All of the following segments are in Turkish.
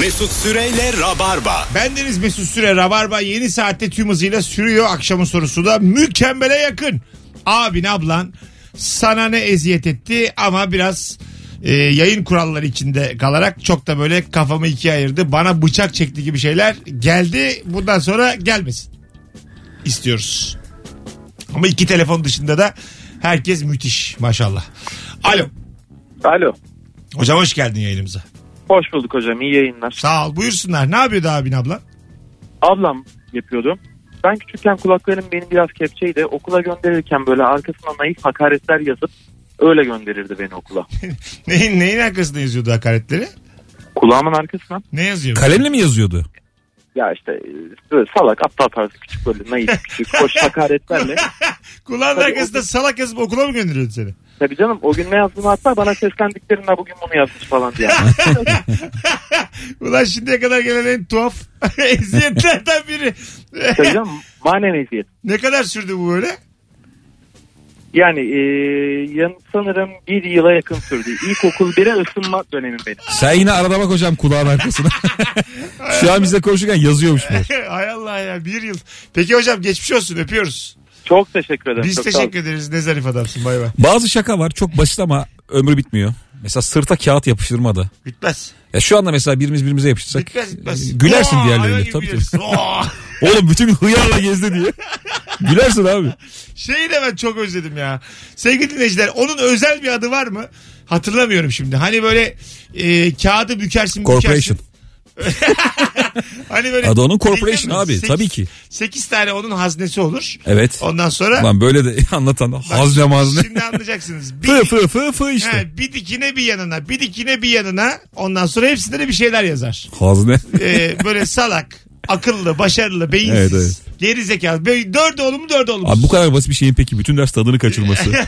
Mesut Süreyle Rabarba. Bendeniz Mesut Süre Rabarba yeni saatte tüm hızıyla sürüyor. Akşamın sorusu da mükemmele yakın. Abin ablan sana ne eziyet etti ama biraz e, yayın kuralları içinde kalarak çok da böyle kafamı ikiye ayırdı. Bana bıçak çekti gibi şeyler geldi. Bundan sonra gelmesin. İstiyoruz. Ama iki telefon dışında da herkes müthiş maşallah. Alo. Alo. Hocam hoş geldin yayınımıza. Hoş bulduk hocam. İyi yayınlar. Sağ ol. Buyursunlar. Ne yapıyordu abin ablan? Ablam yapıyordu. Ben küçükken kulaklarım benim biraz kepçeydi. Okula gönderirken böyle arkasına naif hakaretler yazıp öyle gönderirdi beni okula. Neyin, neyin arkasında yazıyordu hakaretleri? Kulağımın arkasına Ne yazıyor? Kalemle mi yazıyordu? ya işte e, böyle salak aptal tarzı küçük böyle naif küçük hoş hakaretlerle. Kulağın Tabii arkasında salak yazıp okula mı gönderiyordu seni? Tabii canım o gün ne yazdığını hatta bana seslendiklerinde bugün bunu yazmış falan diye. Ulan şimdiye kadar gelen en tuhaf eziyetlerden biri. Tabii canım manen eziyet. ne kadar sürdü bu böyle? Yani e, yan- sanırım bir yıla yakın sürdü. İlkokul 1'e ısınma dönemim benim. Sen yine arada bak hocam kulağın arkasına. Şu an bizle konuşurken yazıyormuş bu. Hay Allah ya bir yıl. Peki hocam geçmiş olsun öpüyoruz. Çok teşekkür ederim. Biz Çok sağ olun. teşekkür ederiz ne zarif adamsın bay bay. Bazı şaka var çok basit ama ömrü bitmiyor. Mesela sırta kağıt yapıştırma da. Bitmez. Ya şu anda mesela birimiz birbirimize yapıştırsak Bitmez bitmez. e, gülersin Oo, hayvan diğerlerine gibi tabii gülersin. tabii. Oo. Oğlum bütün hıyarla gezdi diye. gülersin abi. Şeyi de ben çok özledim ya. Sevgili dinleyiciler onun özel bir adı var mı? Hatırlamıyorum şimdi. Hani böyle e, kağıdı bükersin bükersin. Corporation. Hani böyle Adı onun corporation abi, tabii ki. 8 tane onun haznesi olur. Evet. Ondan sonra Lan böyle de anlatan da hazne mazne. şimdi anlayacaksınız. Bir, Fı fı fı fı işte. he, bir dikine bir yanına, bir dikine bir yanına. Ondan sonra hepsinde de bir şeyler yazar. Hazne. Ee, böyle salak, akıllı, başarılı, beyinsiz, Evet, geri zekalı. Böyle dört oğlu mu dört oğlu mu? Abi bu kadar basit bir şeyin peki bütün ders tadını kaçırması.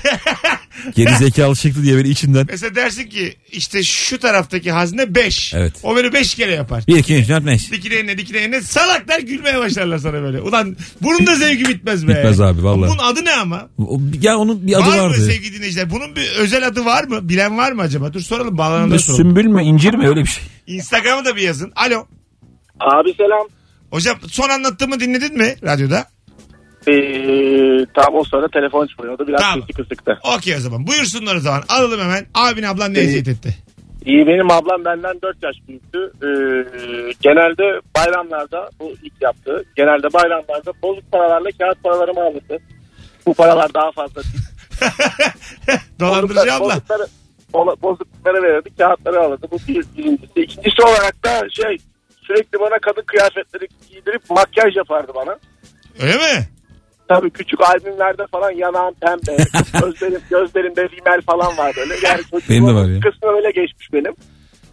Geri zekalı çıktı diye böyle içinden. Mesela dersin ki işte şu taraftaki hazne 5. Evet. O böyle 5 kere yapar. Bir iki üç dört beş. Dikine eline dikine eline salaklar gülmeye başlarlar sana böyle. Ulan bunun da zevki bitmez be. Bitmez abi, vallahi. Bunun adı ne ama? O- Ya onun bir adı var mı şey vardı. sevgili dinleyiciler? Bunun bir özel adı var mı? Bilen var mı acaba? Dur soralım bağlananlara Bir soralım. sümbül mü incir mi öyle bir şey. Instagram'ı da bir yazın. Alo. Abi selam. Hocam son anlattığımı dinledin mi radyoda? Ee, tam o sırada telefon çıkmıyordu. Biraz Tamam. tamam. kısık kısıktı. Okey o zaman. Buyursunlar o zaman. Alalım hemen. Abin ablan ne Ee, eziyet etti? İyi benim ablam benden 4 yaş büyüktü. Ee, genelde bayramlarda bu ilk yaptı. Genelde bayramlarda bozuk paralarla kağıt paralarımı alırdı. Bu paralar daha fazla. değil. Dolandırıcı abla. bozukları, ola- bozukları verirdi. Kağıtları alırdı. Bu bir, birincisi. İkincisi olarak da şey sürekli bana kadın kıyafetleri giydirip makyaj yapardı bana. Öyle mi? Tabii küçük albümlerde falan yanağım pembe. gözlerim, gözlerimde rimel falan var böyle. Yani Benim de var ya. Kısmı öyle geçmiş benim.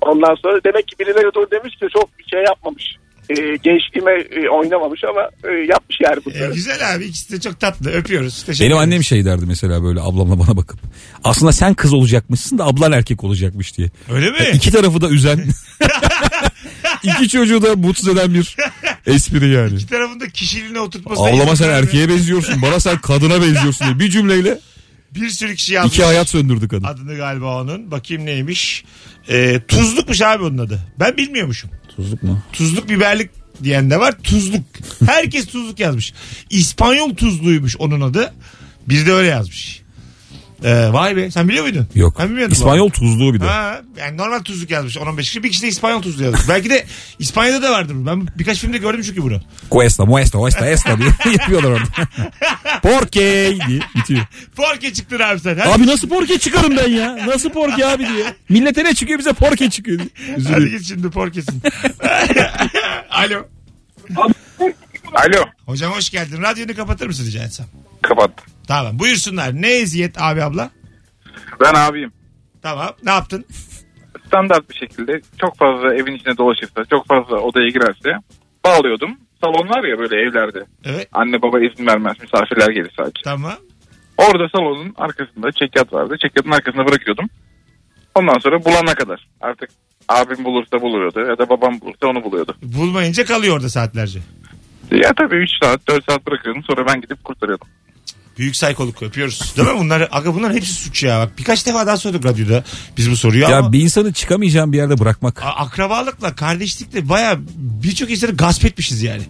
Ondan sonra demek ki birileri dur demiş ki çok bir şey yapmamış. Ee, gençliğime e, oynamamış ama e, yapmış yani Ee, bunları. güzel abi. İkisi de çok tatlı. Öpüyoruz. Teşekkür Benim ederiz. annem şey derdi mesela böyle ablamla bana bakıp. Aslında sen kız olacakmışsın da ablan erkek olacakmış diye. Öyle mi? iki tarafı da üzen. iki çocuğu da mutsuz eden bir espri yani. İki tarafında kişiliğine oturtması. da Ablama sen iyi. erkeğe benziyorsun. Bana sen kadına benziyorsun diye bir cümleyle Bir sürü kişi yazmış. iki hayat söndürdü kadın. Adını galiba onun. Bakayım neymiş. Ee, tuzlukmuş abi onun adı. Ben bilmiyormuşum. Tuzluk mu? Tuzluk biberlik diyen de var. Tuzluk. Herkes tuzluk yazmış. İspanyol tuzluymuş onun adı. Bir de öyle yazmış. Ee, vay be. Sen biliyor muydun? Yok. Ben bilmiyordum. İspanyol tuzluğu bir de. Ha, yani normal tuzluk yazmış 10-15 kişi. Bir kişi de İspanyol tuzlu yazmış. Belki de İspanya'da da vardır. bu. Ben birkaç filmde gördüm çünkü bunu. Cuesta, muesta, oesta, esta diye yapıyorlar orada. Porke diye bitiyor. Porke çıktın abi sen. Hadi, Abi nasıl porke çıkarım ben ya? Nasıl porke abi diye. Millete ne çıkıyor bize porke çıkıyor diye. hadi Üzülüyor. git şimdi porkesin. Alo. Alo. Hocam hoş geldin. Radyonu kapatır mısın rica etsem? Kapat. Tamam buyursunlar. Ne eziyet abi abla? Ben abiyim. Tamam ne yaptın? Standart bir şekilde çok fazla evin içine dolaşırsa, çok fazla odaya girerse bağlıyordum. Salon var ya böyle evlerde. Evet Anne baba izin vermez misafirler gelir sadece. tamam. Orada salonun arkasında çekyat vardı. Çekyatın arkasında bırakıyordum. Ondan sonra bulana kadar. Artık abim bulursa buluyordu ya da babam bulursa onu buluyordu. Bulmayınca kalıyor orada saatlerce. Ya tabii 3 saat 4 saat bırakıyordum sonra ben gidip kurtarıyordum. Büyük saykoluk yapıyoruz. Değil mi? Bunlar, aga bunların hepsi suç ya. Bak birkaç defa daha sorduk radyoda biz bu soruyu ama Ya bir insanı çıkamayacağın bir yerde bırakmak. a- akrabalıkla, kardeşlikle baya birçok insanı gasp etmişiz yani.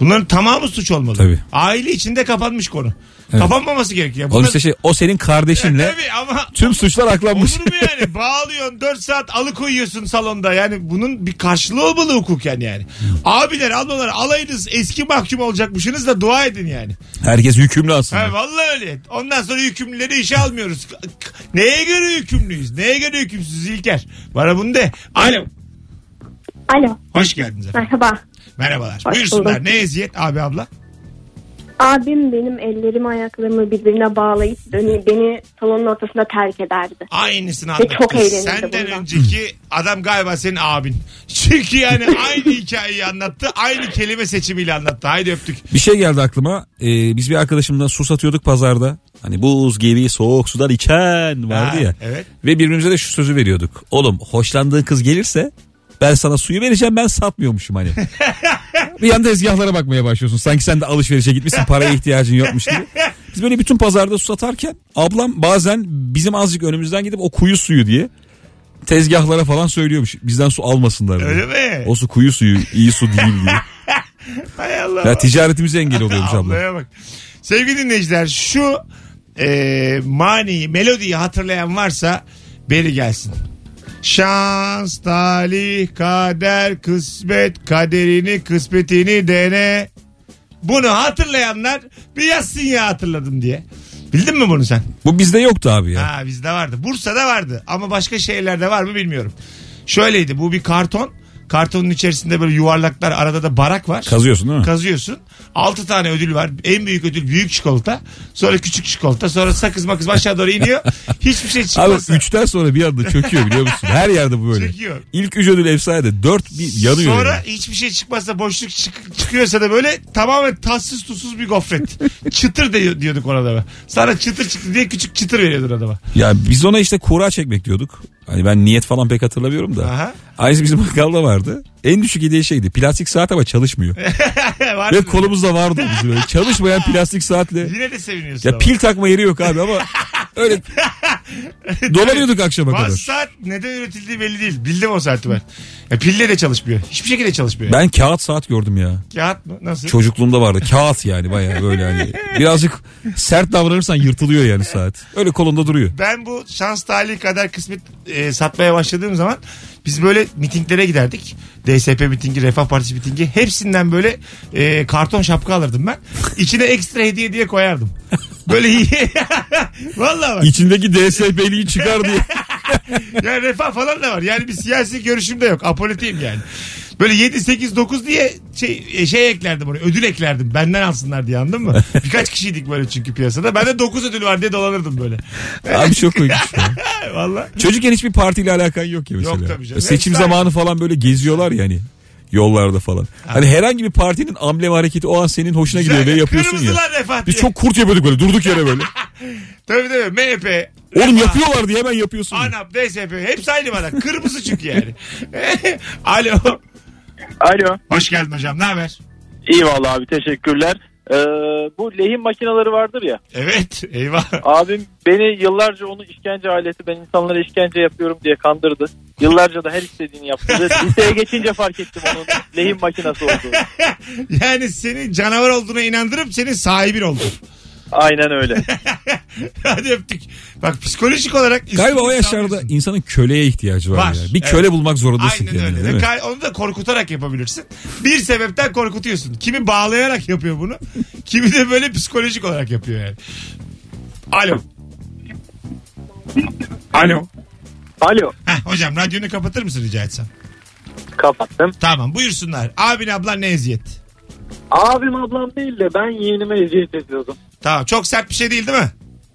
Bunların tamamı suç olmalı. Tabii. Aile içinde kapanmış konu. Kapanmaması gerekiyor. Oğlum Bunlar- işte şey o senin kardeşinle Tabii ama tüm suçlar aklanmış. Olur mu yani? Bağlıyorsun 4 saat alıkoyuyorsun salonda. Yani bunun bir karşılığı olmalı hukuken yani. Hmm. Abiler ablalar alaydınız eski mahkum olacakmışsınız da dua edin yani. Herkes yükümlü aslında. Ha, vallahi öyle. Ondan sonra hükümlüleri işe almıyoruz. K- k- Neye göre hükümlüyüz? Neye göre hükümsüz İlker? Bana bunu de. Alo. Alo Hoş geldiniz efendim. merhaba. Merhabalar. Hoş Buyursunlar. bulduk. Ne eziyet abi abla? Abim benim ellerimi ayaklarımı birbirine bağlayıp beni, beni salonun ortasında terk ederdi. Aynısını anlattı. E, çok eğlenirdi Senden bundan. önceki adam galiba senin abin. Çünkü yani aynı hikayeyi anlattı. Aynı kelime seçimiyle anlattı. Haydi öptük. Bir şey geldi aklıma. Ee, biz bir arkadaşımla su satıyorduk pazarda. Hani buz gibi soğuk sudan içen vardı Ha, ya. Evet. Ve birbirimize de şu sözü veriyorduk. Oğlum hoşlandığın kız gelirse ben sana suyu vereceğim ben satmıyormuşum hani. bir yanda tezgahlara bakmaya başlıyorsun. Sanki sen de alışverişe gitmişsin paraya ihtiyacın yokmuş gibi. Biz böyle bütün pazarda su satarken ablam bazen bizim azıcık önümüzden gidip o kuyu suyu diye tezgahlara falan söylüyormuş. Bizden su almasınlar. diye. Öyle mi? O su kuyu suyu iyi su değil diye. Hay Allah. Ya ticaretimize engel oluyormuş abla. Ablaya bak. Sevgili dinleyiciler şu e, maniyi, melodiyi hatırlayan varsa beri gelsin. Şans, talih, kader, kısmet, kaderini, kısmetini dene. Bunu hatırlayanlar bir yazsın ya hatırladım diye. Bildin mi bunu sen? Bu bizde yoktu abi ya. Ha bizde vardı. Bursa'da vardı ama başka şehirlerde var mı bilmiyorum. Şöyleydi bu bir karton. Kartonun içerisinde böyle yuvarlaklar arada da barak var. Kazıyorsun değil mi? Kazıyorsun. 6 tane ödül var. En büyük ödül büyük çikolata. Sonra küçük çikolata. Sonra sakız makız aşağı doğru iniyor. Hiçbir şey Abi çıkmazsa. üçten sonra bir anda çöküyor biliyor musun? Her yerde bu böyle. Çöküyor. İlk üç ödül efsane. Dört bir yanıyor. Sonra yani. hiçbir şey çıkmazsa boşluk çık- çıkıyorsa da böyle tamamen tatsız tuzsuz bir gofret. çıtır de diyorduk ona da. Sana çıtır çıktı diye küçük çıtır veriyordun adama. Ya biz ona işte kura çekmek diyorduk. Hani ben niyet falan pek hatırlamıyorum da. Aha. Aynısı bizim bakkalda vardı. En düşük hediye şeydi. Plastik saat ama çalışmıyor. Var Ve mı? kolumuzda vardı bizim böyle. Çalışmayan plastik saatle. Yine de seviniyorsun. Ya ama. pil takma yeri yok abi ama öyle dolanıyorduk akşama Bazı kadar. saat neden üretildiği belli değil. Bildim o saati ben. Ya pille de çalışmıyor. Hiçbir şekilde çalışmıyor. Ben kağıt saat gördüm ya. Kağıt mı? Nasıl? Çocukluğumda vardı. Kağıt yani bayağı böyle hani. Birazcık sert davranırsan yırtılıyor yani saat. Öyle kolunda duruyor. ben bu şans talih kadar kısmet e, satmaya başladığım zaman biz böyle mitinglere giderdik. DSP mitingi, Refah Partisi mitingi. Hepsinden böyle e, karton şapka alırdım ben. İçine ekstra hediye diye koyardım. Böyle Vallahi bak. İçindeki DSP'liği çıkar diye. Yani refah falan da var. Yani bir siyasi görüşüm de yok. Apolitiyim yani. Böyle 7, 8, 9 diye şey, e, şey eklerdim oraya. Ödül eklerdim. Benden alsınlar diye anladın mı? Birkaç kişiydik böyle çünkü piyasada. Bende 9 ödül var diye dolanırdım böyle. Abi çok koymuş. Valla. Çocukken hiçbir partiyle alakan yok ya mesela. Yok tabii canım. Seçim Efsane. zamanı falan böyle geziyorlar yani yollarda falan. Hani herhangi bir partinin amblem hareketi o an senin hoşuna gidiyor ve yapıyorsun ya. Kırmızılar refah diye. Biz çok kurt yapıyorduk böyle durduk yere böyle. Tabii tabii. MHP. Oğlum yapıyorlar diye hemen yapıyorsun. ANAP, DSP. Hepsi aynı bana. Kırmızı çünkü yani. Alo. Alo. Hoş geldin hocam. Ne haber? İyi vallahi abi teşekkürler. Ee, bu lehim makineleri vardır ya. Evet. Eyvah. Abim beni yıllarca onu işkence aleti ben insanlara işkence yapıyorum diye kandırdı. Yıllarca da her istediğini yaptırdı. Liseye geçince fark ettim onun lehim makinesi olduğunu. Yani seni canavar olduğuna inandırıp senin sahibin oldu. Aynen öyle. Hadi öptük. Bak psikolojik olarak... Galiba o üstünlük yaşlarda sağlıyorsun. insanın köleye ihtiyacı var. Var, yani. Bir evet. köle bulmak zorundasın Aynen kendine. öyle. değil mi? Ka- Onu da korkutarak yapabilirsin. Bir sebepten korkutuyorsun. Kimi bağlayarak yapıyor bunu. kimi de böyle psikolojik olarak yapıyor yani. Alo. Alo. Alo. Heh, hocam radyonu kapatır mısın rica etsem? Kapattım. Tamam buyursunlar. Abin ablan ne eziyet? Abim ablam değil de ben yeğenime eziyet ediyordum. Tamam çok sert bir şey değil değil mi?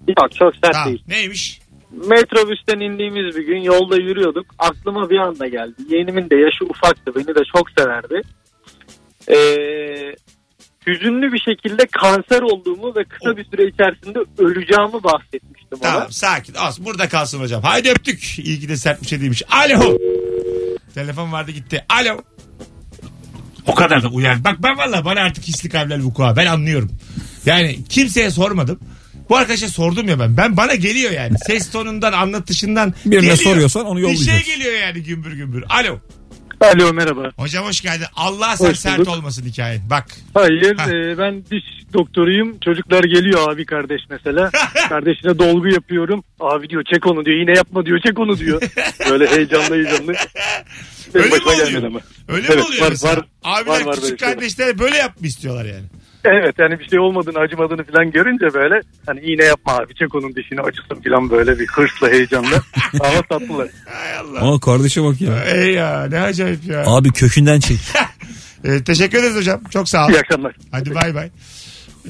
Yok çok sert Tamam. değil. Neymiş? Metrobüsten indiğimiz bir gün yolda yürüyorduk. Aklıma bir anda geldi. Yeğenimin de yaşı ufaktı. Beni de çok severdi. Ee, hüzünlü bir şekilde kanser olduğumu ve kısa bir süre içerisinde öleceğimi bahsetmiştim ona. Tamam sakin. Az burada kalsın hocam. Haydi öptük. İyi ki de sert bir şey değilmiş. Alo. Telefon vardı gitti. Alo. O kadar da uyar. Bak ben valla bana artık hisli kalpler vuku'a. Ben anlıyorum. Yani kimseye sormadım. Bu arkadaşa sordum ya ben. Ben bana geliyor yani. Ses tonundan, anlatışından Birine geliyor. soruyorsan onu Bir şey yollayacaksın. geliyor yani gümbür gümbür. Alo. Alo merhaba. Hocam hoş geldin. Allah sen Hoş sert bulduk. olmasın hikayen. Bak. Hayır Ha. e, ben diş doktoruyum. Çocuklar geliyor abi kardeş mesela. Kardeşine dolgu yapıyorum. Abi diyor çek onu diyor. Yine yapma diyor çek onu diyor. Böyle heyecanlı heyecanlı. Benim Öyle mi başıma oluyor? gelmedi ama. Öyle mi Evet, oluyor var, mesela? var. Abiler Var, var küçük böyle şey. şeyler. kardeşler böyle yap mı istiyorlar yani? Evet yani bir şey olmadığını acımadığını falan görünce böyle hani iğne yapma abi çek onun dişini acısın falan böyle bir hırsla heyecanla. Ama tatlılar. Hay Allah. Aa kardeşe bak ya. Ey ya ne acayip ya. Abi kökünden çek. Ee, teşekkür ederiz hocam. Çok sağ ol. İyi akşamlar. Hadi bay bay.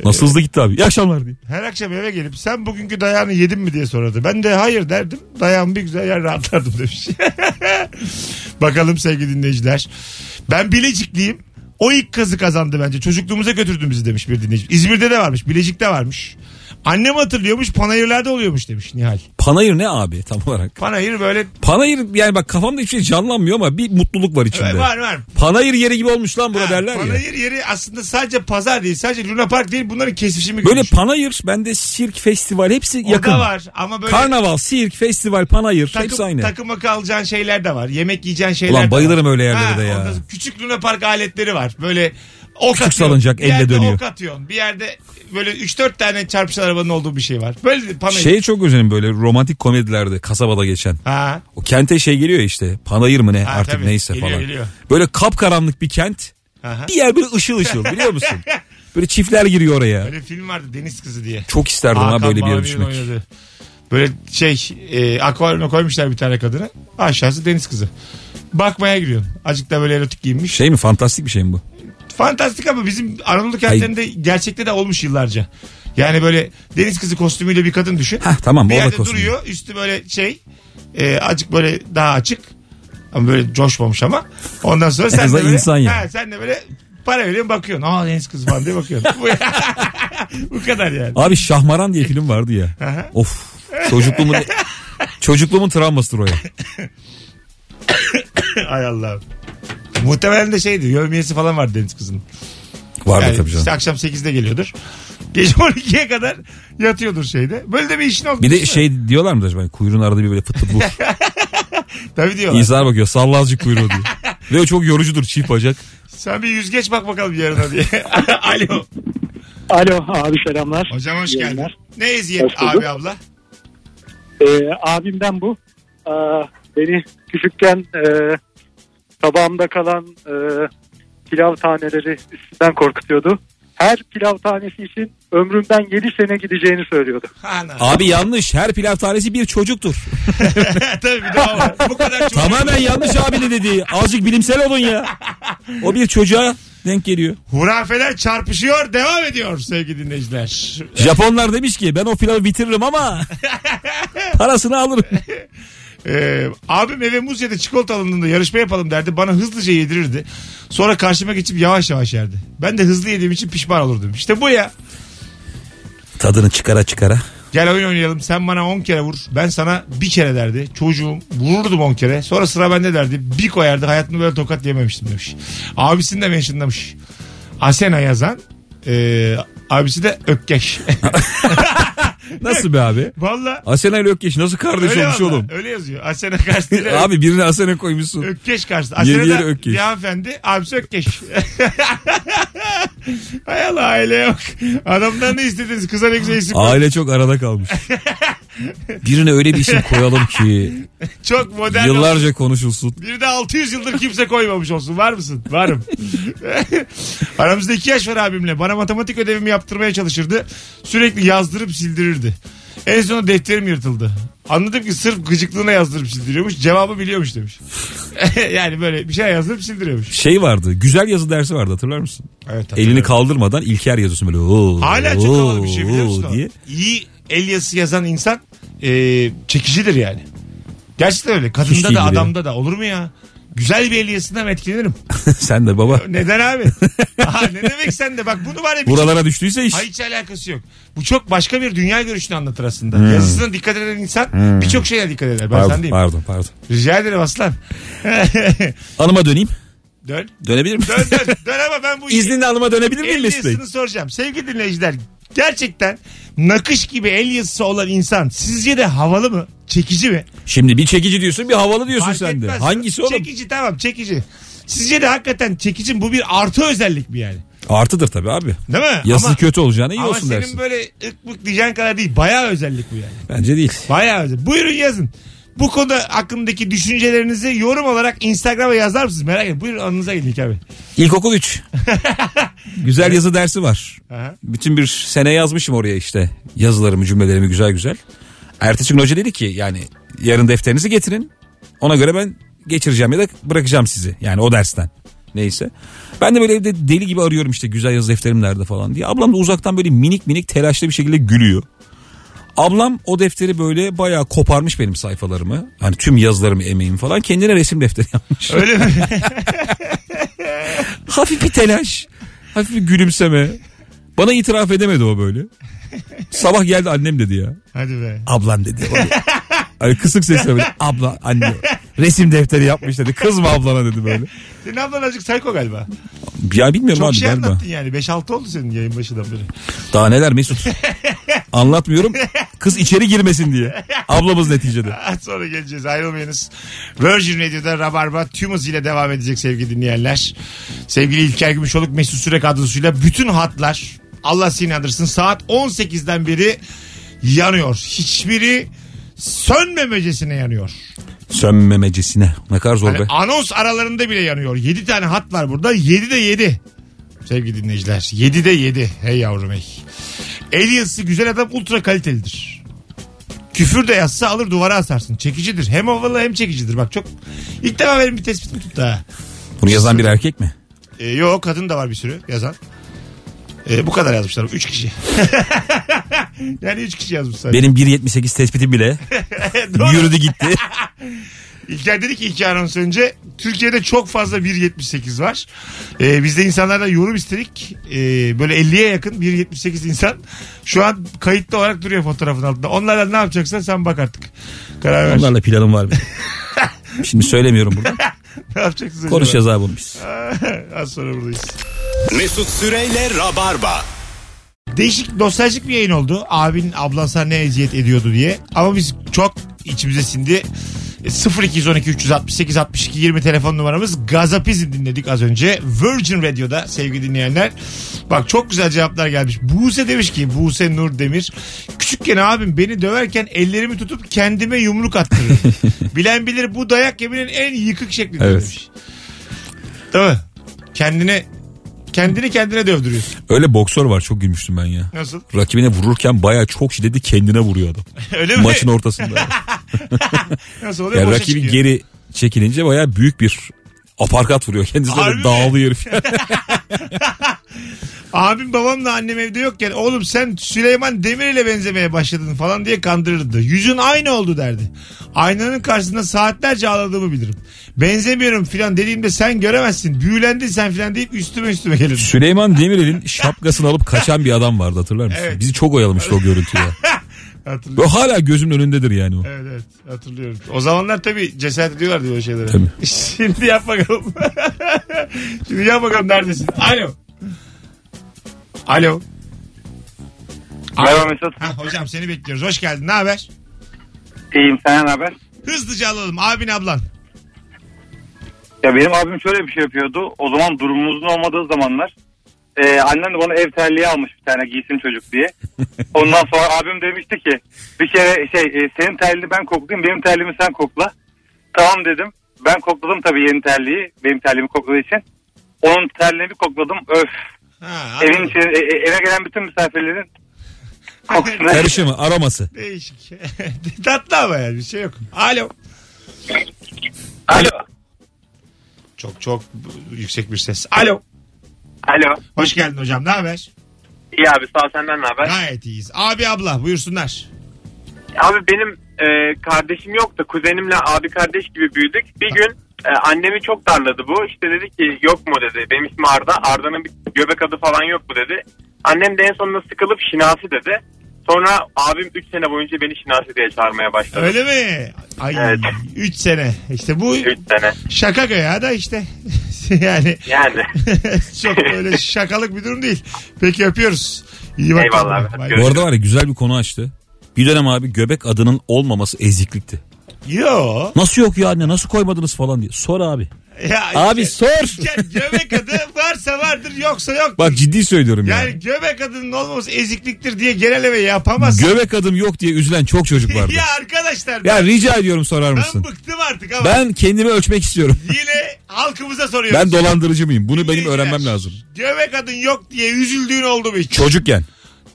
Nasıl hızlı gitti abi. İyi akşamlar diye. Her akşam eve gelip sen bugünkü dayağını yedin mi diye sorardı. Ben de hayır derdim. Dayağımı bir güzel yer rahatlardım demiş. Bakalım sevgili dinleyiciler. Ben Bilecikliyim. O ilk kazı kazandı bence. Çocukluğumuza götürdü bizi demiş bir dinleyici. İzmir'de de varmış. Bilecik'te varmış. Annem hatırlıyormuş. Panayırlar'da oluyormuş demiş Nihal. Panayır ne abi tam olarak? Panayır böyle Panayır yani bak kafamda hiçbir şey canlanmıyor ama bir mutluluk var içimde. var var. Panayır yeri gibi olmuş lan bura Ha, derler ya. Panayır yeri aslında sadece pazar değil. Sadece Luna Park değil. Bunların kesişimi. Böyle görmüş. panayır bende sirk festival hepsi O yakın. da var ama böyle Karnaval, sirk, festival, panayır hepsi takım, aynı. takıma kalacağın şeyler de var. Yemek yiyeceğin şeyler de Ulan var. bayılırım öyle yerlere Ha, de ya. ondan sonra küçük Luna Park aletleri var. Böyle ok Küçük atıyorsun. salıncak, Bir yerde elle dönüyor. ok atıyorsun. Bir yerde böyle 3-4 tane çarpışan arabanın olduğu bir şey var. Böyle bir panayır. Şeye çok özenim böyle romantik komedilerde kasabada geçen. Ha. O kente şey geliyor ya işte panayır mı ne Ha, artık tabii. neyse Geliyor, falan. geliyor. Böyle kapkaranlık bir kent. Aha. Bir yer böyle ışıl ışıl biliyor musun? Böyle çiftler giriyor oraya. Böyle film vardı Deniz Kızı diye. Çok isterdim ha Hakan böyle bir yere Mavi'nin düşmek. oynadığı. Böyle şey e, akvaryuma koymuşlar bir tane kadını. Aşağısı Deniz Kızı. Bakmaya giriyorsun. Azıcık da böyle erotik giyinmiş. Şey mi fantastik bir şey mi bu? Fantastik ama bizim Anadolu kentlerinde gerçekte de olmuş yıllarca. Yani böyle deniz kızı kostümüyle bir kadın düşün. Hah, tamam, bir o da yerde kostüm. duruyor üstü böyle şey e, acık böyle daha açık ama böyle coşmamış ama ondan sonra sen de azından böyle, insan yani. He, sen de böyle para veriyorsun bakıyorsun aa deniz kızı falan diye bakıyorsun. Bu, bu kadar yani. Abi Şahmaran diye film vardı ya. Aha. of çocukluğumun çocukluğumun travmasıdır o ya. Ay Allah'ım. Muhtemelen de şeydi yövmiyesi falan var deniz kızının. Vardı Yani tabii canım. işte akşam 8'de geliyordur. Gece 12'ye kadar yatıyordur şeyde. Böyle de bir işin oldu. Bir de şey diyorlar mıdır acaba? Kuyruğun arada bir böyle fıt fıt vur. şey, Tabii diyorlar. İnsanlar bakıyor salla azıcık kuyruğu diyor. Ve o çok yorucudur çift bacak. Sen bir yüzgeç bak bakalım yarına diye. Alo. Alo abi selamlar. Hocam hoş İyi geldin. yayınlar. Ne eziyet Hoş bulduk. abi abla? Ee, abimden bu. Aa, beni küçükken e, tabağımda kalan e, pilav taneleri üstünden korkutuyordu. Her pilav tanesi için ömrümden 7 sene gideceğini söylüyordu. Ana. Abi yanlış her pilav tanesi bir çocuktur. Tabii bir daha var. Bu kadar çocuk. Tamamen yanlış abi de dediği. Azıcık bilimsel olun ya. O bir çocuğa denk geliyor. Hurafeler çarpışıyor devam ediyor sevgili dinleyiciler. Japonlar demiş ki ben o pilavı bitiririm ama parasını alırım. Ee, abim eve muz ya da çikolata alındığında yarışma yapalım derdi. Bana hızlıca yedirirdi. Sonra karşıma geçip yavaş yavaş yerdi. Ben de hızlı yediğim için pişman olurdum. İşte bu ya. Tadını çıkara çıkara. Gel oyun oynayalım sen bana 10 kere vur. Ben sana bir kere derdi. Çocuğum vururdum 10 kere. Sonra sıra bende derdi. Bir koyardı hayatımda böyle tokat yememiştim demiş. Abisini de mentionlamış. Asena yazan. e, abisi de Ökkeş. Nasıl be abi? Valla. Asena ile Ökkeş nasıl kardeş Öyle, olmuş valla, şey oğlum? öyle yazıyor. Asena karşısında Abi birine Asena koymuşsun. Ökkeş karşısında. Yeri Asena yeri da Ökkeş. bir hanımefendi. Abisi Ökkeş. Hay Allah aile yok. Adamdan ne istediniz? Kıza ne güzel isim. Aile çok arada kalmış. Birine öyle bir isim koyalım ki Çok modern. yıllarca konuşulsun. Bir de 600 yıldır kimse koymamış olsun. Var mısın? Varım. Aramızda 2 yaş var abimle. Bana matematik ödevimi yaptırmaya çalışırdı. Sürekli yazdırıp sildirirdi. En sonunda defterim yırtıldı. Anladım ki sırf gıcıklığına yazdırıp sildiriyormuş. Cevabı biliyormuş demiş. yani böyle bir şey yazdırıp sildiriyormuş. Şey vardı. Güzel yazı dersi vardı hatırlar mısın? Evet, Elini kaldırmadan İlker yazıyorsun böyle. Oo, Hala çok havalı bir şey biliyor oo musun? Diye. İyi el yazısı yazan insan e, çekicidir yani. Gerçekten öyle. Kadında Hiç da değildir ya. adamda da. Olur mu ya? Güzel bir el yazısından etkilenirim. Sen de baba. Neden abi? Aha, ne demek sen de bak bunu var ya bir şey- Buralara düştüyse iş. Hayır, hiç alakası yok. Bu çok başka bir dünya görüşünü anlatır aslında. Yazısına dikkat eden insan birçok şeye dikkat eder. Ben sen Hmm. Pardon, diyeyim. pardon pardon. Rica ederim aslan. Anıma döneyim. dön. Dönebilir miyim? Dön dön. Dön ama ben bu İzninle anıma dönebilir miyim el Mesut Bey? yazısını soracağım. Sevgili dinleyiciler Gerçekten nakış gibi el yazısı olan insan sizce de havalı mı? Çekici mi? Şimdi bir çekici diyorsun bir havalı diyorsun Fark sen de. etmez. Hangisi oğlum? Çekici tamam çekici. Sizce de hakikaten çekici mi? bu bir artı özellik mi yani? Artıdır tabii abi. Değil mi? Yaslı ama, kötü olacağına iyi ama olsun senin dersin. böyle ık bık diyeceğin kadar değil. Bayağı özellik bu yani. Bence değil. Bayağı özel. Buyurun yazın. Bu konuda hakkındaki düşüncelerinizi yorum olarak Instagram'a yazar mısınız? Merak ediyorum. Buyurun anınıza gelin abi. İlkokul 3. güzel yazı dersi var. Aha. Bütün bir sene yazmışım oraya işte yazılarımı cümlelerimi güzel güzel. Ertesi gün hoca dedi ki yani yarın defterinizi getirin. Ona göre ben geçireceğim ya da bırakacağım sizi yani o dersten. Neyse. Ben de böyle evde deli gibi arıyorum işte güzel yazı defterim nerede falan diye. Ablam da uzaktan böyle minik minik telaşlı bir şekilde gülüyor. Ablam o defteri böyle bayağı koparmış benim sayfalarımı. Hani tüm yazılarımı emeğimi falan. Kendine resim defteri yapmış. Öyle mi? hafif bir telaş. Hafif bir gülümseme. Bana itiraf edemedi o böyle. Sabah geldi annem dedi ya. Hadi be. Ablam dedi. O da- Ay kısık sesle böyle. Abla anne. Resim defteri yapmış dedi. Kızma ablana dedi böyle. Senin ablan azıcık psycho galiba. Ya bilmiyorum Çok abi şey galiba. anlattın yani. 5-6 oldu senin yayın başından beri. Daha neler Mesut. Anlatmıyorum. Kız içeri girmesin diye. Ablamız neticede. Az Sonra geleceğiz ayrılmayınız. Virgin Radio'da Rabarba tüm hızıyla devam edecek sevgili dinleyenler. Sevgili İlker Gümüşoluk Mesut Süre kadrosuyla bütün hatlar Allah seni inandırsın saat 18'den beri yanıyor. Hiçbiri sönmemecesine yanıyor. Sönmemecesine. Ne kadar zor be. Hani anons aralarında bile yanıyor. 7 tane hat var burada. 7 de 7. Sevgili dinleyiciler. 7 de 7. Hey yavrum hey. El yazısı güzel adam ultra kalitelidir. Küfür de yazsa alır duvara asarsın. Çekicidir. Hem havalı hem çekicidir. Bak çok ilk defa benim bir tespitim tuttu ha. Bunu yazan bir erkek mi? Ee, yok kadın da var bir sürü yazan. Ee, bu kadar yazmışlar. 3 kişi. yani 3 kişi yazmış sadece. Benim 1.78 tespitim bile Doğru. yürüdü gitti. İlker dedi ki iki anons önce Türkiye'de çok fazla 1.78 var. Ee, biz de insanlardan yorum istedik. Ee, böyle 50'ye yakın 1.78 insan şu an kayıtlı olarak duruyor fotoğrafın altında. Onlardan ne yapacaksan sen bak artık. Karar ver. Onlarla planım var benim. Şimdi söylemiyorum burada. Ne yapacaksın? acaba? Konuşacağız abi bunu biz. Az sonra buradayız. Mesut Süreyle Rabarba. Değişik nostaljik bir yayın oldu. Abin ablan sana ne eziyet ediyordu diye. Ama biz çok içimize sindi. E, 0212 368 62 20 telefon numaramız. Gazapizm dinledik az önce. Virgin Radio'da sevgili dinleyenler. Bak çok güzel cevaplar gelmiş. Buse demiş ki Buse Nur Demir. Küçükken abim beni döverken ellerimi tutup kendime yumruk attırır. Bilen bilir bu dayak yeminin en yıkık şeklidir Evet. demiş. Değil mi? Kendine kendini kendine dövdürüyorsun. Öyle boksör var çok gülmüştüm ben ya. Nasıl? Rakibine vururken baya çok şiddetli kendine vuruyor adam. Öyle mi? Maçın ortasında. Nasıl oluyor? yani Boşa rakibi çıkıyor. geri çekilince baya büyük bir aparkat vuruyor. Kendisi Harbi mi? böyle dağılıyor herif. Abim babamla annem evde yokken oğlum sen Süleyman Demir ile benzemeye başladın falan diye kandırırdı. Yüzün aynı oldu derdi. Aynanın karşısında saatlerce ağladığımı bilirim. Benzemiyorum filan dediğimde sen göremezsin. Büyülendin sen filan deyip üstüme üstüme gelirdi. Süleyman Demirel'in şapkasını alıp kaçan bir adam vardı hatırlar mısın? Evet. Bizi çok oyalamıştı o görüntüye. Hatırlıyorum. Böyle hala gözümün önündedir yani o. Evet evet hatırlıyorum. O zamanlar tabii cesaret ediyorlardı böyle şeylere. Tabii. Şimdi yap bakalım. Şimdi yap bakalım neredesin? Alo. Alo. Merhaba Mesut. Ha, hocam seni bekliyoruz. Hoş geldin. Ne haber? İyiyim sen ne haber? Hızlıca alalım. Abin ablan. Ya benim abim şöyle bir şey yapıyordu. O zaman durumumuzun olmadığı zamanlar e, annem de bana ev terliği almış bir tane giysin çocuk diye. Ondan sonra abim demişti ki bir kere şey e, senin terliğini ben koklayayım benim terliğimi sen kokla. Tamam dedim. Ben kokladım tabii yeni terliği benim terliğimi kokladığı için. Onun terliğini bir kokladım. Öf. Ha, Evin anladım. içine, e, e, eve gelen bütün misafirlerin kokusuna Karışımı araması. Değişik. Tatlı ama yani bir şey yok. Alo. Alo. Çok çok yüksek bir ses. Alo. Alo. Hoş geldin hocam. Ne haber? İyi abi sağ ol senden ne haber? Gayet iyiyiz. Abi abla buyursunlar. Abi benim e, kardeşim yok da kuzenimle abi kardeş gibi büyüdük. Bir gün e, annemi çok darladı bu. İşte dedi ki yok mu dedi. Benim ismim Arda. Arda'nın bir göbek adı falan yok mu dedi. Annem de en sonunda sıkılıp şinasi dedi. Sonra abim 3 sene boyunca beni şinasi diye çağırmaya başladı. Öyle mi? Ay Evet. 3 sene. İşte bu 3 sene. şaka göya da işte. yani Yani. çok böyle şakalık bir durum değil. Peki öpüyoruz. İyi bak. Eyvallah abi. Bay bay. Bu arada var ya güzel bir konu açtı. Bir dönem abi göbek adının olmaması eziklikti. Yo. Nasıl yok ya anne nasıl koymadınız falan diye. Sor abi. Ya Abi işte- sor. Ya göbek adı varsa vardır yoksa yok. Bak ciddi söylüyorum ya. Yani göbek adının olmaması ezikliktir diye genel eve yapamazsın. Göbek adım yok diye üzülen çok çocuk vardı. ya arkadaşlar Ya rica ediyorum sorar ben mısın? bıktım artık ama Ben kendimi ölçmek istiyorum. yine halkımıza soruyoruz. Ben dolandırıcı mıyım? Bunu benim Dinleyiciler, öğrenmem lazım. Göbek adın yok diye üzüldüğün oldu mu hiç? Çocukken.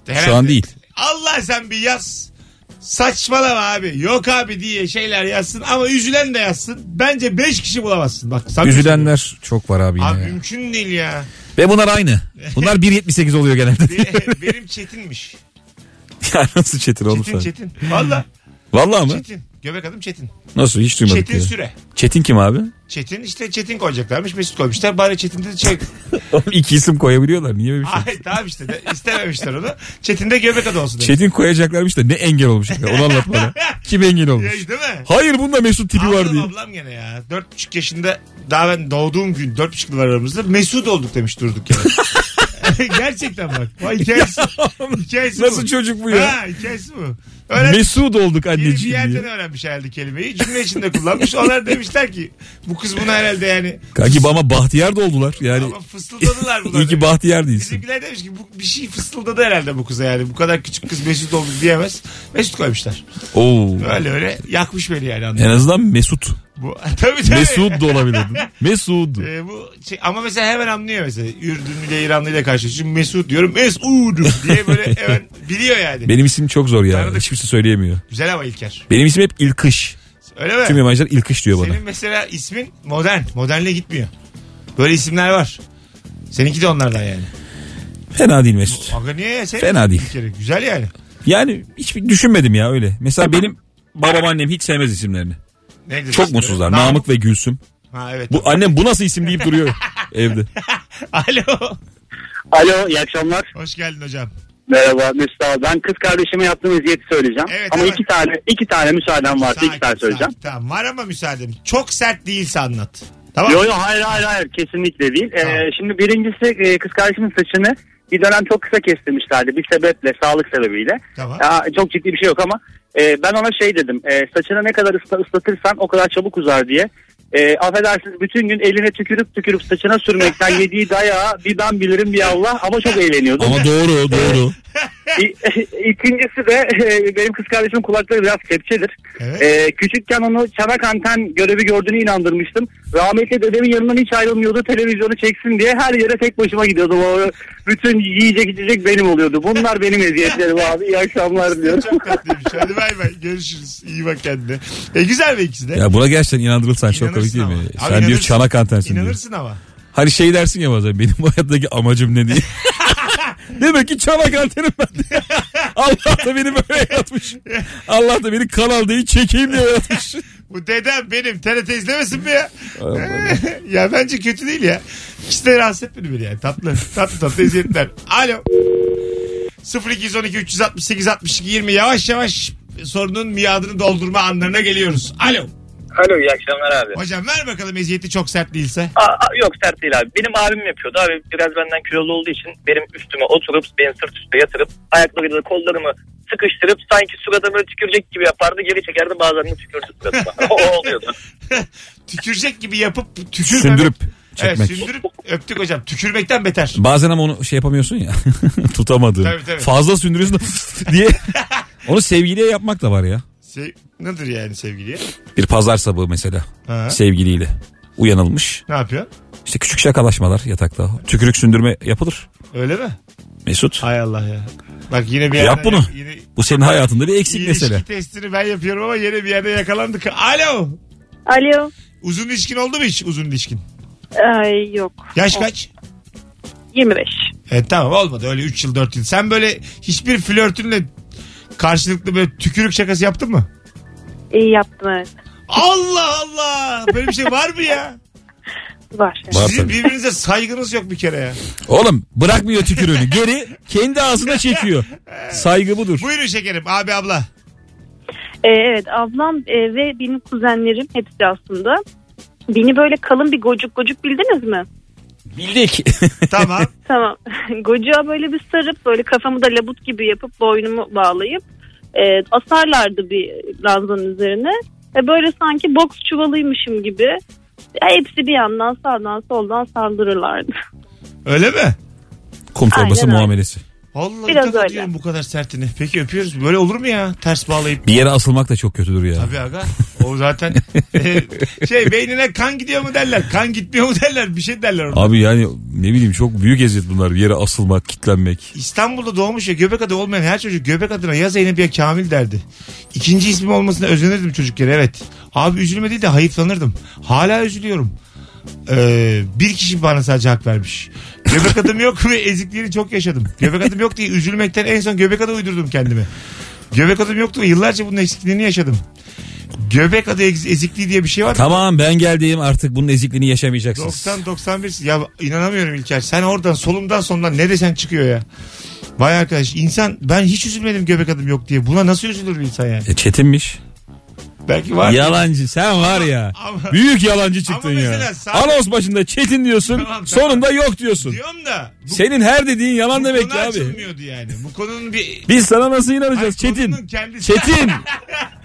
Herhalde. Şu an değil. Allah sen bir yaz. Saçmalama abi. Yok abi diye şeyler yazsın ama üzülen de yazsın. Bence 5 kişi bulamazsın. Bak samimi söylüyorum. Üzülenler çok var abi yine. Abi ya. mümkün değil ya. Ve bunlar aynı. Bunlar 1.78 oluyor genelde. Be- Benim Çetin'miş. ya nasıl çetin oğlum Çetin sen? Çetin. Valla Vallahi mı? Çetin. Göbek adım Çetin. Nasıl hiç duymadık Çetin ya. Süre. Çetin kim abi? Çetin işte Çetin koyacaklarmış. Mesut koymuşlar. Bari Çetin de şey. Oğlum iki isim koyabiliyorlar. Niye böyle bir şey? Ay tamam işte. De, istememişler onu. Çetin de göbek adı olsun. demiş. Çetin koyacaklarmış da ne engel olmuş. ya? Onu anlat bana. Kim engel Ya, olmuş? değil mi? Hayır bunda Mesut tipi var Ablam diye. ablam gene ya. Dört buçuk yaşında daha ben doğduğum gün dört buçuk yıl aramızda Mesut olduk demiş durduk yere. Gerçekten bak. Vay hikayesi. hikayesi Nasıl çocuk bu ya? Ha hikayesi bu. Öyle Mesut olduk biri bir anneciğim yerden diye. öğrenmiş herhalde kelimeyi. Cümle içinde kullanmış. Onlar demişler ki bu kız bunu herhalde yani Kanki ama Bahtiyar da oldular. Yani ama fısıldadılar bunlar. iyi ki Bahtiyar değilsin. Bizimkiler demiş ki bu bir şey fısıldadı herhalde bu kıza yani. Bu kadar küçük kız Mesut oldu diyemez. Mesut koymuşlar. Oo. Öyle öyle yakmış beni yani anladın. En mı? azından Mesut. Bu, tabii tabii. Mesut da olabilirdin. Mesut. Ee, bu şey- ama mesela hemen anlıyor mesela. Ürdünlüyle İranlıyla karşılaşıyorum. Mesut diyorum. Mesut diye böyle hemen biliyor yani. Benim isim çok zor ya. Tanıdık. Hiç kimse söyleyemiyor. Güzel ama İlker. Benim isim hep İlkış. Öyle mi? Tüm yabancılar İlkış diyor bana. Senin mesela ismin modern. Modernle gitmiyor. Böyle isimler var. Seninki de onlardan yani. Fena değil Mesut. Aga niye ya? Senin Fena değil. bir kere. Güzel yani. Yani hiç düşünmedim ya öyle. Mesela benim babam annem hiç sevmez isimlerini. Nedir Çok ismi? mutsuzlar. Namık ve Gülsüm. Ha evet. Bu annem bu nasıl isim deyip duruyor evde. Alo. Alo iyi akşamlar. Hoş geldin hocam. Merhaba Mesut abi. Ben kız kardeşime yaptığım eziyeti söyleyeceğim. Evet, Ama evet. iki tane iki tane müsaaden varsa iki tane Sakin, söyleyeceğim. sakin. Tamam var ama müsaadim. Çok sert değilse anlat. Tamam. Yo yo hayır hayır hayır kesinlikle değil. Ee, Tamam. şimdi birincisi e, kız kardeşimin saçını bir dönem çok kısa kestirmişlerdi bir sebeple sağlık sebebiyle. Tamam. Ya, çok ciddi bir şey yok ama e, ben ona şey dedim e, saçını ne kadar ısla- ıslatırsan o kadar çabuk uzar diye. E, affedersiniz bütün gün eline tükürüp tükürüp saçına sürmekten yediği dayağı bir ben bilirim bir Allah ama çok eğleniyordu. Ama doğru doğru. İ- İkincisi de e, benim kız kardeşimin kulakları biraz kepçedir. Evet. E, küçükken onu çanak anten görevi gördüğünü inandırmıştım. Rahmetli dedemin yanından hiç ayrılmıyordu. Televizyonu çeksin diye her yere tek başıma gidiyordum. O bütün yiyecek içecek benim oluyordu. Bunlar benim eziyetlerim abi. İyi akşamlar diliyorum. Çok tatlıymış. Hadi bay bay. Görüşürüz. İyi bak kendine. E, güzel bir ikisi de. Ya buna gerçekten inanırılsan çok komik değil mi? ama. Abi Sen diyor inanırsın. çanak antensin diyor. İnanırsın ama. Hani şey dersin ya bazen benim bu hayattaki amacım ne diye. Demek ki çanak antenim ben diye. Allah da beni böyle yaratmış. Allah da beni kanal değil çekeyim diye yaratmış. Bu dedem benim TRT izlemesin mi ya? ya bence kötü değil ya. Hiç de rahatsız etmedi beni yani. Tatlı tatlı tatlı eziyetler. Alo. 0212 368 62 20 yavaş yavaş sorunun miadını doldurma anlarına geliyoruz. Alo. Alo iyi akşamlar abi. Hocam ver bakalım eziyeti çok sert değilse. Aa, aa, yok sert değil abi. Benim abim yapıyordu abi. Biraz benden kilolu olduğu için benim üstüme oturup beni sırt üstü yatırıp ayaklarıyla da kollarımı sıkıştırıp sanki suratıma böyle tükürecek gibi yapardı. Geri çekerdi bazen de tükürdü suratıma. o oluyordu. Tükürecek gibi yapıp tükürmemek. Sündürüp Evet, çekmek. sündürüp öptük hocam. Tükürmekten beter. Bazen ama onu şey yapamıyorsun ya. Tutamadığın. Tabii, tabii. Fazla sündürüyorsun da diye. Onu sevgiliye yapmak da var ya. Sev- Şey, Nedir yani sevgiliye? Bir pazar sabahı mesela. Ha. Sevgiliyle. Uyanılmış. Ne yapıyor? İşte küçük şakalaşmalar yatakta. Tükürük sündürme yapılır. Öyle mi? Mesut. Hay Allah ya. Bak yine bir Yap yerden- bunu. Yine, Bu senin hayatında bir eksik ilişki mesele. testini ben yapıyorum ama yine bir yerde yakalandık. Alo. Alo. Uzun ilişkin oldu mu hiç uzun ilişkin? Ay yok. Yaş kaç? 25. E, tamam olmadı öyle 3 yıl 4 yıl. Sen böyle hiçbir flörtünle karşılıklı böyle tükürük şakası yaptın mı? İyi yaptın evet. Allah Allah. Böyle bir şey var mı ya? Var. Var Sizin tabii. birbirinize saygınız yok bir kere ya. Oğlum bırakmıyor tükürüğünü. Geri kendi ağzına çekiyor. Saygı budur. Buyurun şekerim abi abla. Ee, evet ablam e, ve benim kuzenlerim hepsi aslında. Beni böyle kalın bir gocuk gocuk bildiniz mi? Bildik. Tamam. Tamam. Gocuğa böyle bir sarıp böyle kafamı da labut gibi yapıp boynumu bağlayıp e, asarlardı bir ranzanın üzerine. Ve böyle sanki boks çuvalıymışım gibi e, hepsi bir yandan sağdan soldan saldırırlardı. Öyle mi? Kum torbası Aynen öyle. muamelesi. Vallahi Biraz dikkat öyle. ediyorum bu kadar sertini. Peki öpüyoruz. Böyle olur mu ya? Ters bağlayıp. Bir yere asılmak da çok kötüdür ya. Tabii aga. O zaten e, şey beynine kan gidiyor mu derler. Kan gitmiyor mu derler. Bir şey derler orada. Abi yani ne bileyim çok büyük eziyet bunlar. Bir yere asılmak, kitlenmek. İstanbul'da doğmuş ya göbek adı olmayan her çocuk göbek adına ya Zeynep ya Kamil derdi. İkinci ismim olmasına özenirdim çocukken evet. Abi üzülme değil de hayıflanırdım. Hala üzülüyorum. Ee, bir kişi bana sadece hak vermiş. Göbek adım yok ve ezikliğini çok yaşadım. Göbek adım yok diye üzülmekten en son göbek adı uydurdum kendime. Göbek adım yoktu ve yıllarca bunun eksikliğini yaşadım. Göbek adı ez- ezikliği diye bir şey var. mı? Tamam ben geldim artık bunun ezikliğini yaşamayacaksınız. 90-91 ya inanamıyorum İlker sen oradan solumdan sondan ne desen çıkıyor ya. Vay arkadaş insan ben hiç üzülmedim göbek adım yok diye buna nasıl üzülür bir insan yani. E, çetinmiş. Belki var. Yalancı sen var ya. Ama- büyük yalancı çıktın Ama mesela ya. sağ- Anons başında çetin diyorsun Tamam, tamam. sonunda yok diyorsun. Diyorum da bu, Senin her dediğin yalan bu Şey demek konu ki abi. açılmıyordu yani. Bu konunun bir... Biz sana nasıl Ay, inanacağız Çetin? konunun kendisi- Çetin.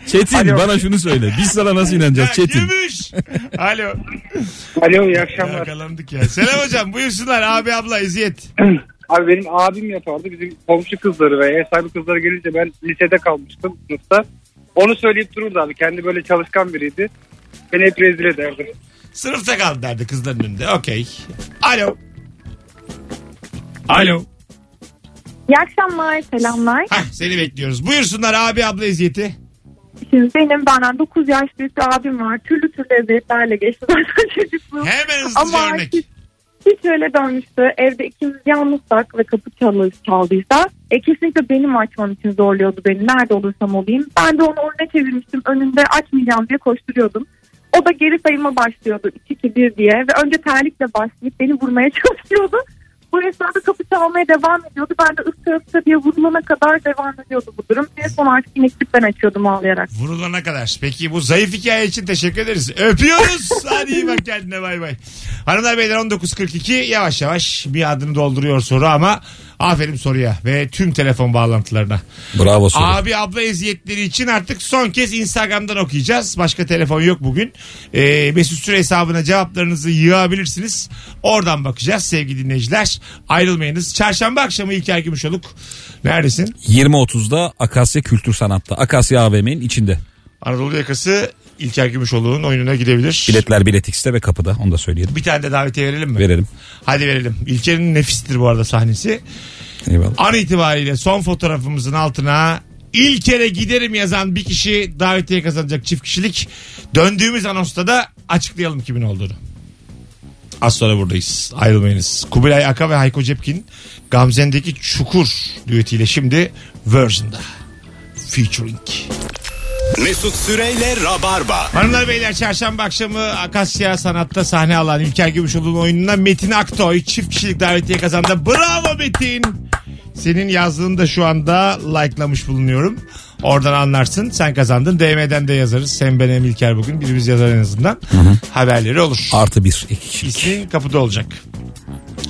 Çetin bana şunu söyle. Biz sana nasıl Ya, inanacağız Çetin? Gümüş. Alo. Ee, Alo iyi akşamlar. Yakalandık ya. Selam hocam buyursunlar abi abla eziyet. Abi benim abim yapardı. Bizim komşu kızları ve ev sahibi kızları gelince ben lisede kalmıştım sınıfta. Onu söyleyip dururdu abi. Kendi böyle çalışkan biriydi. Beni hep rezil ederdi. Sınıfta kaldı derdi kızların önünde. Okey. Alo. Alo. İyi akşamlar, selamlar. Hah, seni bekliyoruz. Buyursunlar abi abla eziyeti. Şimdi benim benden 9 yaş büyük bir abim var. Türlü türlü eziyetlerle geçti zaten çocukluğum. Hemen hızlıca Ama örnek. hiç, hiç öyle dönmüştü. Evde ikimiz yalnızsak ve kapı çalır, çaldıysa e, kesinlikle benim açmam için zorluyordu beni. Nerede olursam olayım. Ben de onu önüne çevirmiştim. Önünde açmayacağım diye koşturuyordum. O da geri sayıma başlıyordu 2-2-1 diye ve önce terlikle başlayıp beni vurmaya çalışıyordu. Bu esnada kapı çalmaya devam ediyordu. Ben de ıska ıska diye vurulana kadar devam ediyordu bu durum. En son artık yine gidip ben açıyordum ağlayarak. Vurulana kadar. Peki bu zayıf hikaye için teşekkür ederiz. Öpüyoruz. Hadi iyi bak kendine bay bay. Hanımlar beyler 19.42 yavaş yavaş bir adını dolduruyor soru ama aferin soruya ve tüm telefon bağlantılarına. Bravo soru. Abi abla eziyetleri için artık son kez Instagram'dan okuyacağız. Başka telefon yok bugün. Ee, Mesut Süre hesabına cevaplarınızı yığabilirsiniz. Oradan bakacağız sevgili dinleyiciler. Ayrılmayınız. Çarşamba akşamı İlker Gümüşoluk. Neredesin? 20.30'da Akasya Kültür Sanat'ta. Akasya AVM'nin içinde. Anadolu yakası İlker Gümüşoluk'un oyununa gidebilir. Biletler Bilet X'te ve kapıda onu da söyleyelim. Bir tane de davetiye verelim mi? Verelim. Hadi verelim. İlker'in nefistir bu arada sahnesi. Eyvallah. An itibariyle son fotoğrafımızın altına İlker'e giderim yazan bir kişi davetiye kazanacak çift kişilik. Döndüğümüz anonsta da açıklayalım kimin olduğunu. Az sonra buradayız. Ayrılmayınız. Kubilay Aka ve Hayko Cepkin Gamzen'deki Çukur düetiyle şimdi Version'da. Featuring. Mesut Süreyle Rabarba. Hanımlar beyler çarşamba akşamı Akasya Sanat'ta sahne alan İlker Gümüşoğlu'nun oyununa Metin Aktoy çift kişilik davetiye kazandı. Bravo Metin. Senin yazdığını da şu anda likelamış bulunuyorum. Oradan anlarsın. Sen kazandın. DM'den de yazarız. Sen ben hem İlker bugün. Birimiz yazar en azından. Haberleri olur. Artı bir iki kişilik. İsmin kapıda olacak.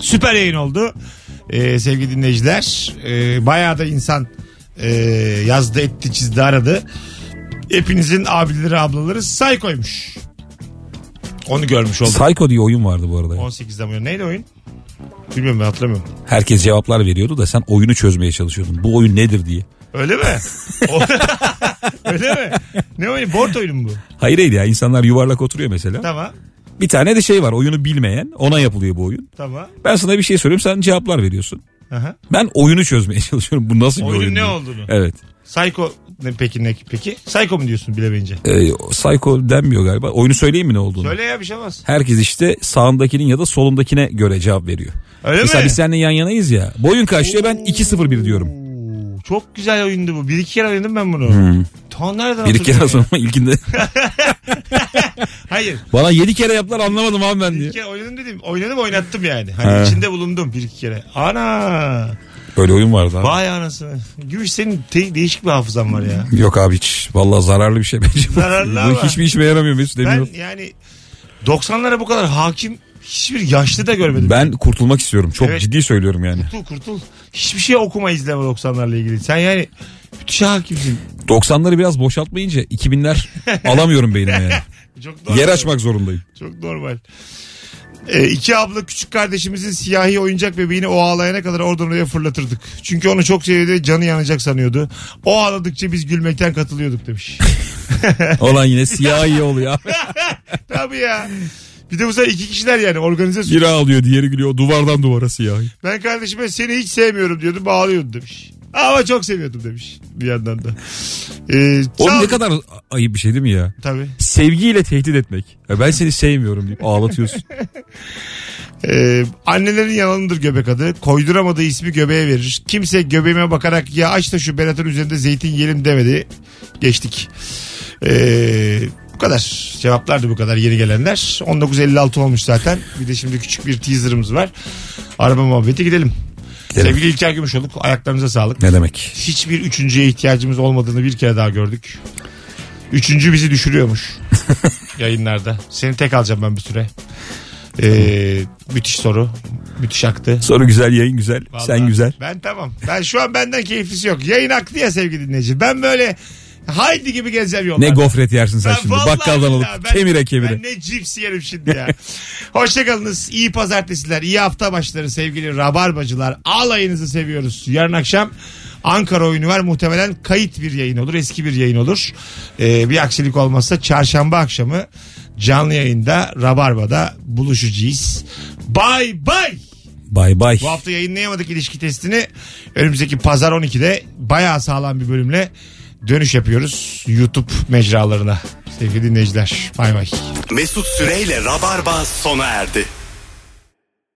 Süper yayın oldu. Ee, sevgili dinleyiciler. Ee, bayağı da insan ee, yazdı etti çizdi aradı. Hepinizin abileri ablaları say koymuş. Onu görmüş olduk. Psycho diye oyun vardı bu arada. 18 zaman neydi oyun? Bilmiyorum ben hatırlamıyorum. Herkes cevaplar veriyordu da sen oyunu çözmeye çalışıyordun. Bu oyun nedir diye. Öyle mi? O- Öyle mi? Ne oyun? Board oyunu mu bu? Hayır hayır ya insanlar yuvarlak oturuyor mesela. Tamam. Bir tane de şey var oyunu bilmeyen ona yapılıyor bu oyun. Tamam. Ben sana bir şey soruyorum sen cevaplar veriyorsun. Aha. Ben oyunu çözmeye çalışıyorum. Bu nasıl bir Oyunun oyun? ne diye. olduğunu. Evet. Psycho ne peki ne peki? Psycho mu diyorsun bilemeyince? Ee, psycho denmiyor galiba. Oyunu söyleyeyim mi ne olduğunu? Söyle ya bir şey olmaz. Herkes işte sağındakinin ya da solundakine göre cevap veriyor. Öyle Mesela mi? biz seninle yan yanayız ya. Boyun kaç diyor ben 2-0-1 diyorum. Oo, çok güzel oyundu bu. Bir iki kere oynadım ben bunu. Ton nereden Hmm. Bir iki kere hatırlıyorum sonra ya? ilkinde Hayır. bana 7 kere yaptılar anlamadım abi ben Bir iki diye. kere oynadım dedim. Oynadım oynattım yani. Hani He. içinde bulundum bir iki kere. Ana. Böyle oyun vardı abi. Vay anasını. Gümüş senin te- değişik bir hafızan var ya. Yok abi hiç. Vallahi zararlı bir şey bence. bu. Zararlı Bu ama. hiçbir işime yaramıyor Mesut Ben demiyor. yani 90'lara bu kadar hakim Hiçbir yaşlı da görmedim. Ben kurtulmak istiyorum. Çok Evet. ciddi söylüyorum yani. Kurtul kurtul. Hiçbir şey okuma izleme 90'larla ilgili. Sen yani müthiş hakimsin. 90'ları biraz boşaltmayınca 2000'ler alamıyorum beynime yani. Çok Yer açmak zorundayım. Çok normal. Ee, iki abla küçük kardeşimizin siyahi oyuncak bebeğini o ağlayana kadar oradan oraya fırlatırdık. Çünkü onu çok sevdi ve canı yanacak sanıyordu. O ağladıkça biz gülmekten katılıyorduk demiş. Olan yine siyahi oluyor. Tabii ya. Bir de bu sefer iki kişiler yani organize suç. Biri ağlıyor diğeri gülüyor. Duvardan duvara siyahi. Ben kardeşime seni hiç sevmiyorum diyordum bağlıyordu demiş. Ama çok seviyordum demiş bir yandan da. Ee, Oğlum sağ- ne kadar ayıp bir şey değil mi ya? Tabii. Sevgiyle tehdit etmek. Ya ben seni sevmiyorum deyip ağlatıyorsun. Ee, annelerin yalanıdır göbek adı. Koyduramadığı ismi göbeğe verir. Kimse göbeğime bakarak ya aç da şu Berat'ın üzerinde zeytin yiyelim demedi. Geçtik. Ee, bu kadar. Cevaplardı bu kadar yeni gelenler. 19.56 olmuş zaten. Bir de şimdi küçük bir teaserımız var. Araba muhabbeti gidelim. Gidelim. Sevgili İlker Gümüşoluk ayaklarınıza sağlık. ne demek? Hiçbir üçüncüye ihtiyacımız olmadığını bir kere daha gördük. Üçüncü bizi düşürüyormuş yayınlarda. Seni tek alacağım ben bir süre. Ee, müthiş soru. Müthiş aktı. Soru güzel, yayın güzel, Vallahi sen güzel. Ben tamam. Ben şu an benden keyiflisi yok. Yayın aktı ya sevgili dinleyici. Ben böyle haydi gibi gezeceğim yollarda. Ne gofret yersin sen Ben şimdi. vallahi Bakkaldan alıp billahi ben- kemire kemire. Ben ne cips yerim şimdi ya. Hoşçakalınız. İyi pazartesiler. iyi hafta başları sevgili rabarbacılar. Alayınızı seviyoruz. Yarın akşam Ankara oyunu var. Muhtemelen kayıt bir yayın olur. Eski bir yayın olur. Ee, bir aksilik olmazsa çarşamba akşamı canlı yayında Rabarba'da buluşacağız. Bay bay. Bay bay. Bu hafta yayınlayamadık ilişki testini. Önümüzdeki pazar 12'de bayağı sağlam bir bölümle dönüş yapıyoruz YouTube mecralarına. Sevgili dinleyiciler. Bay bay. Mesut Süreyle Rabarba sona erdi.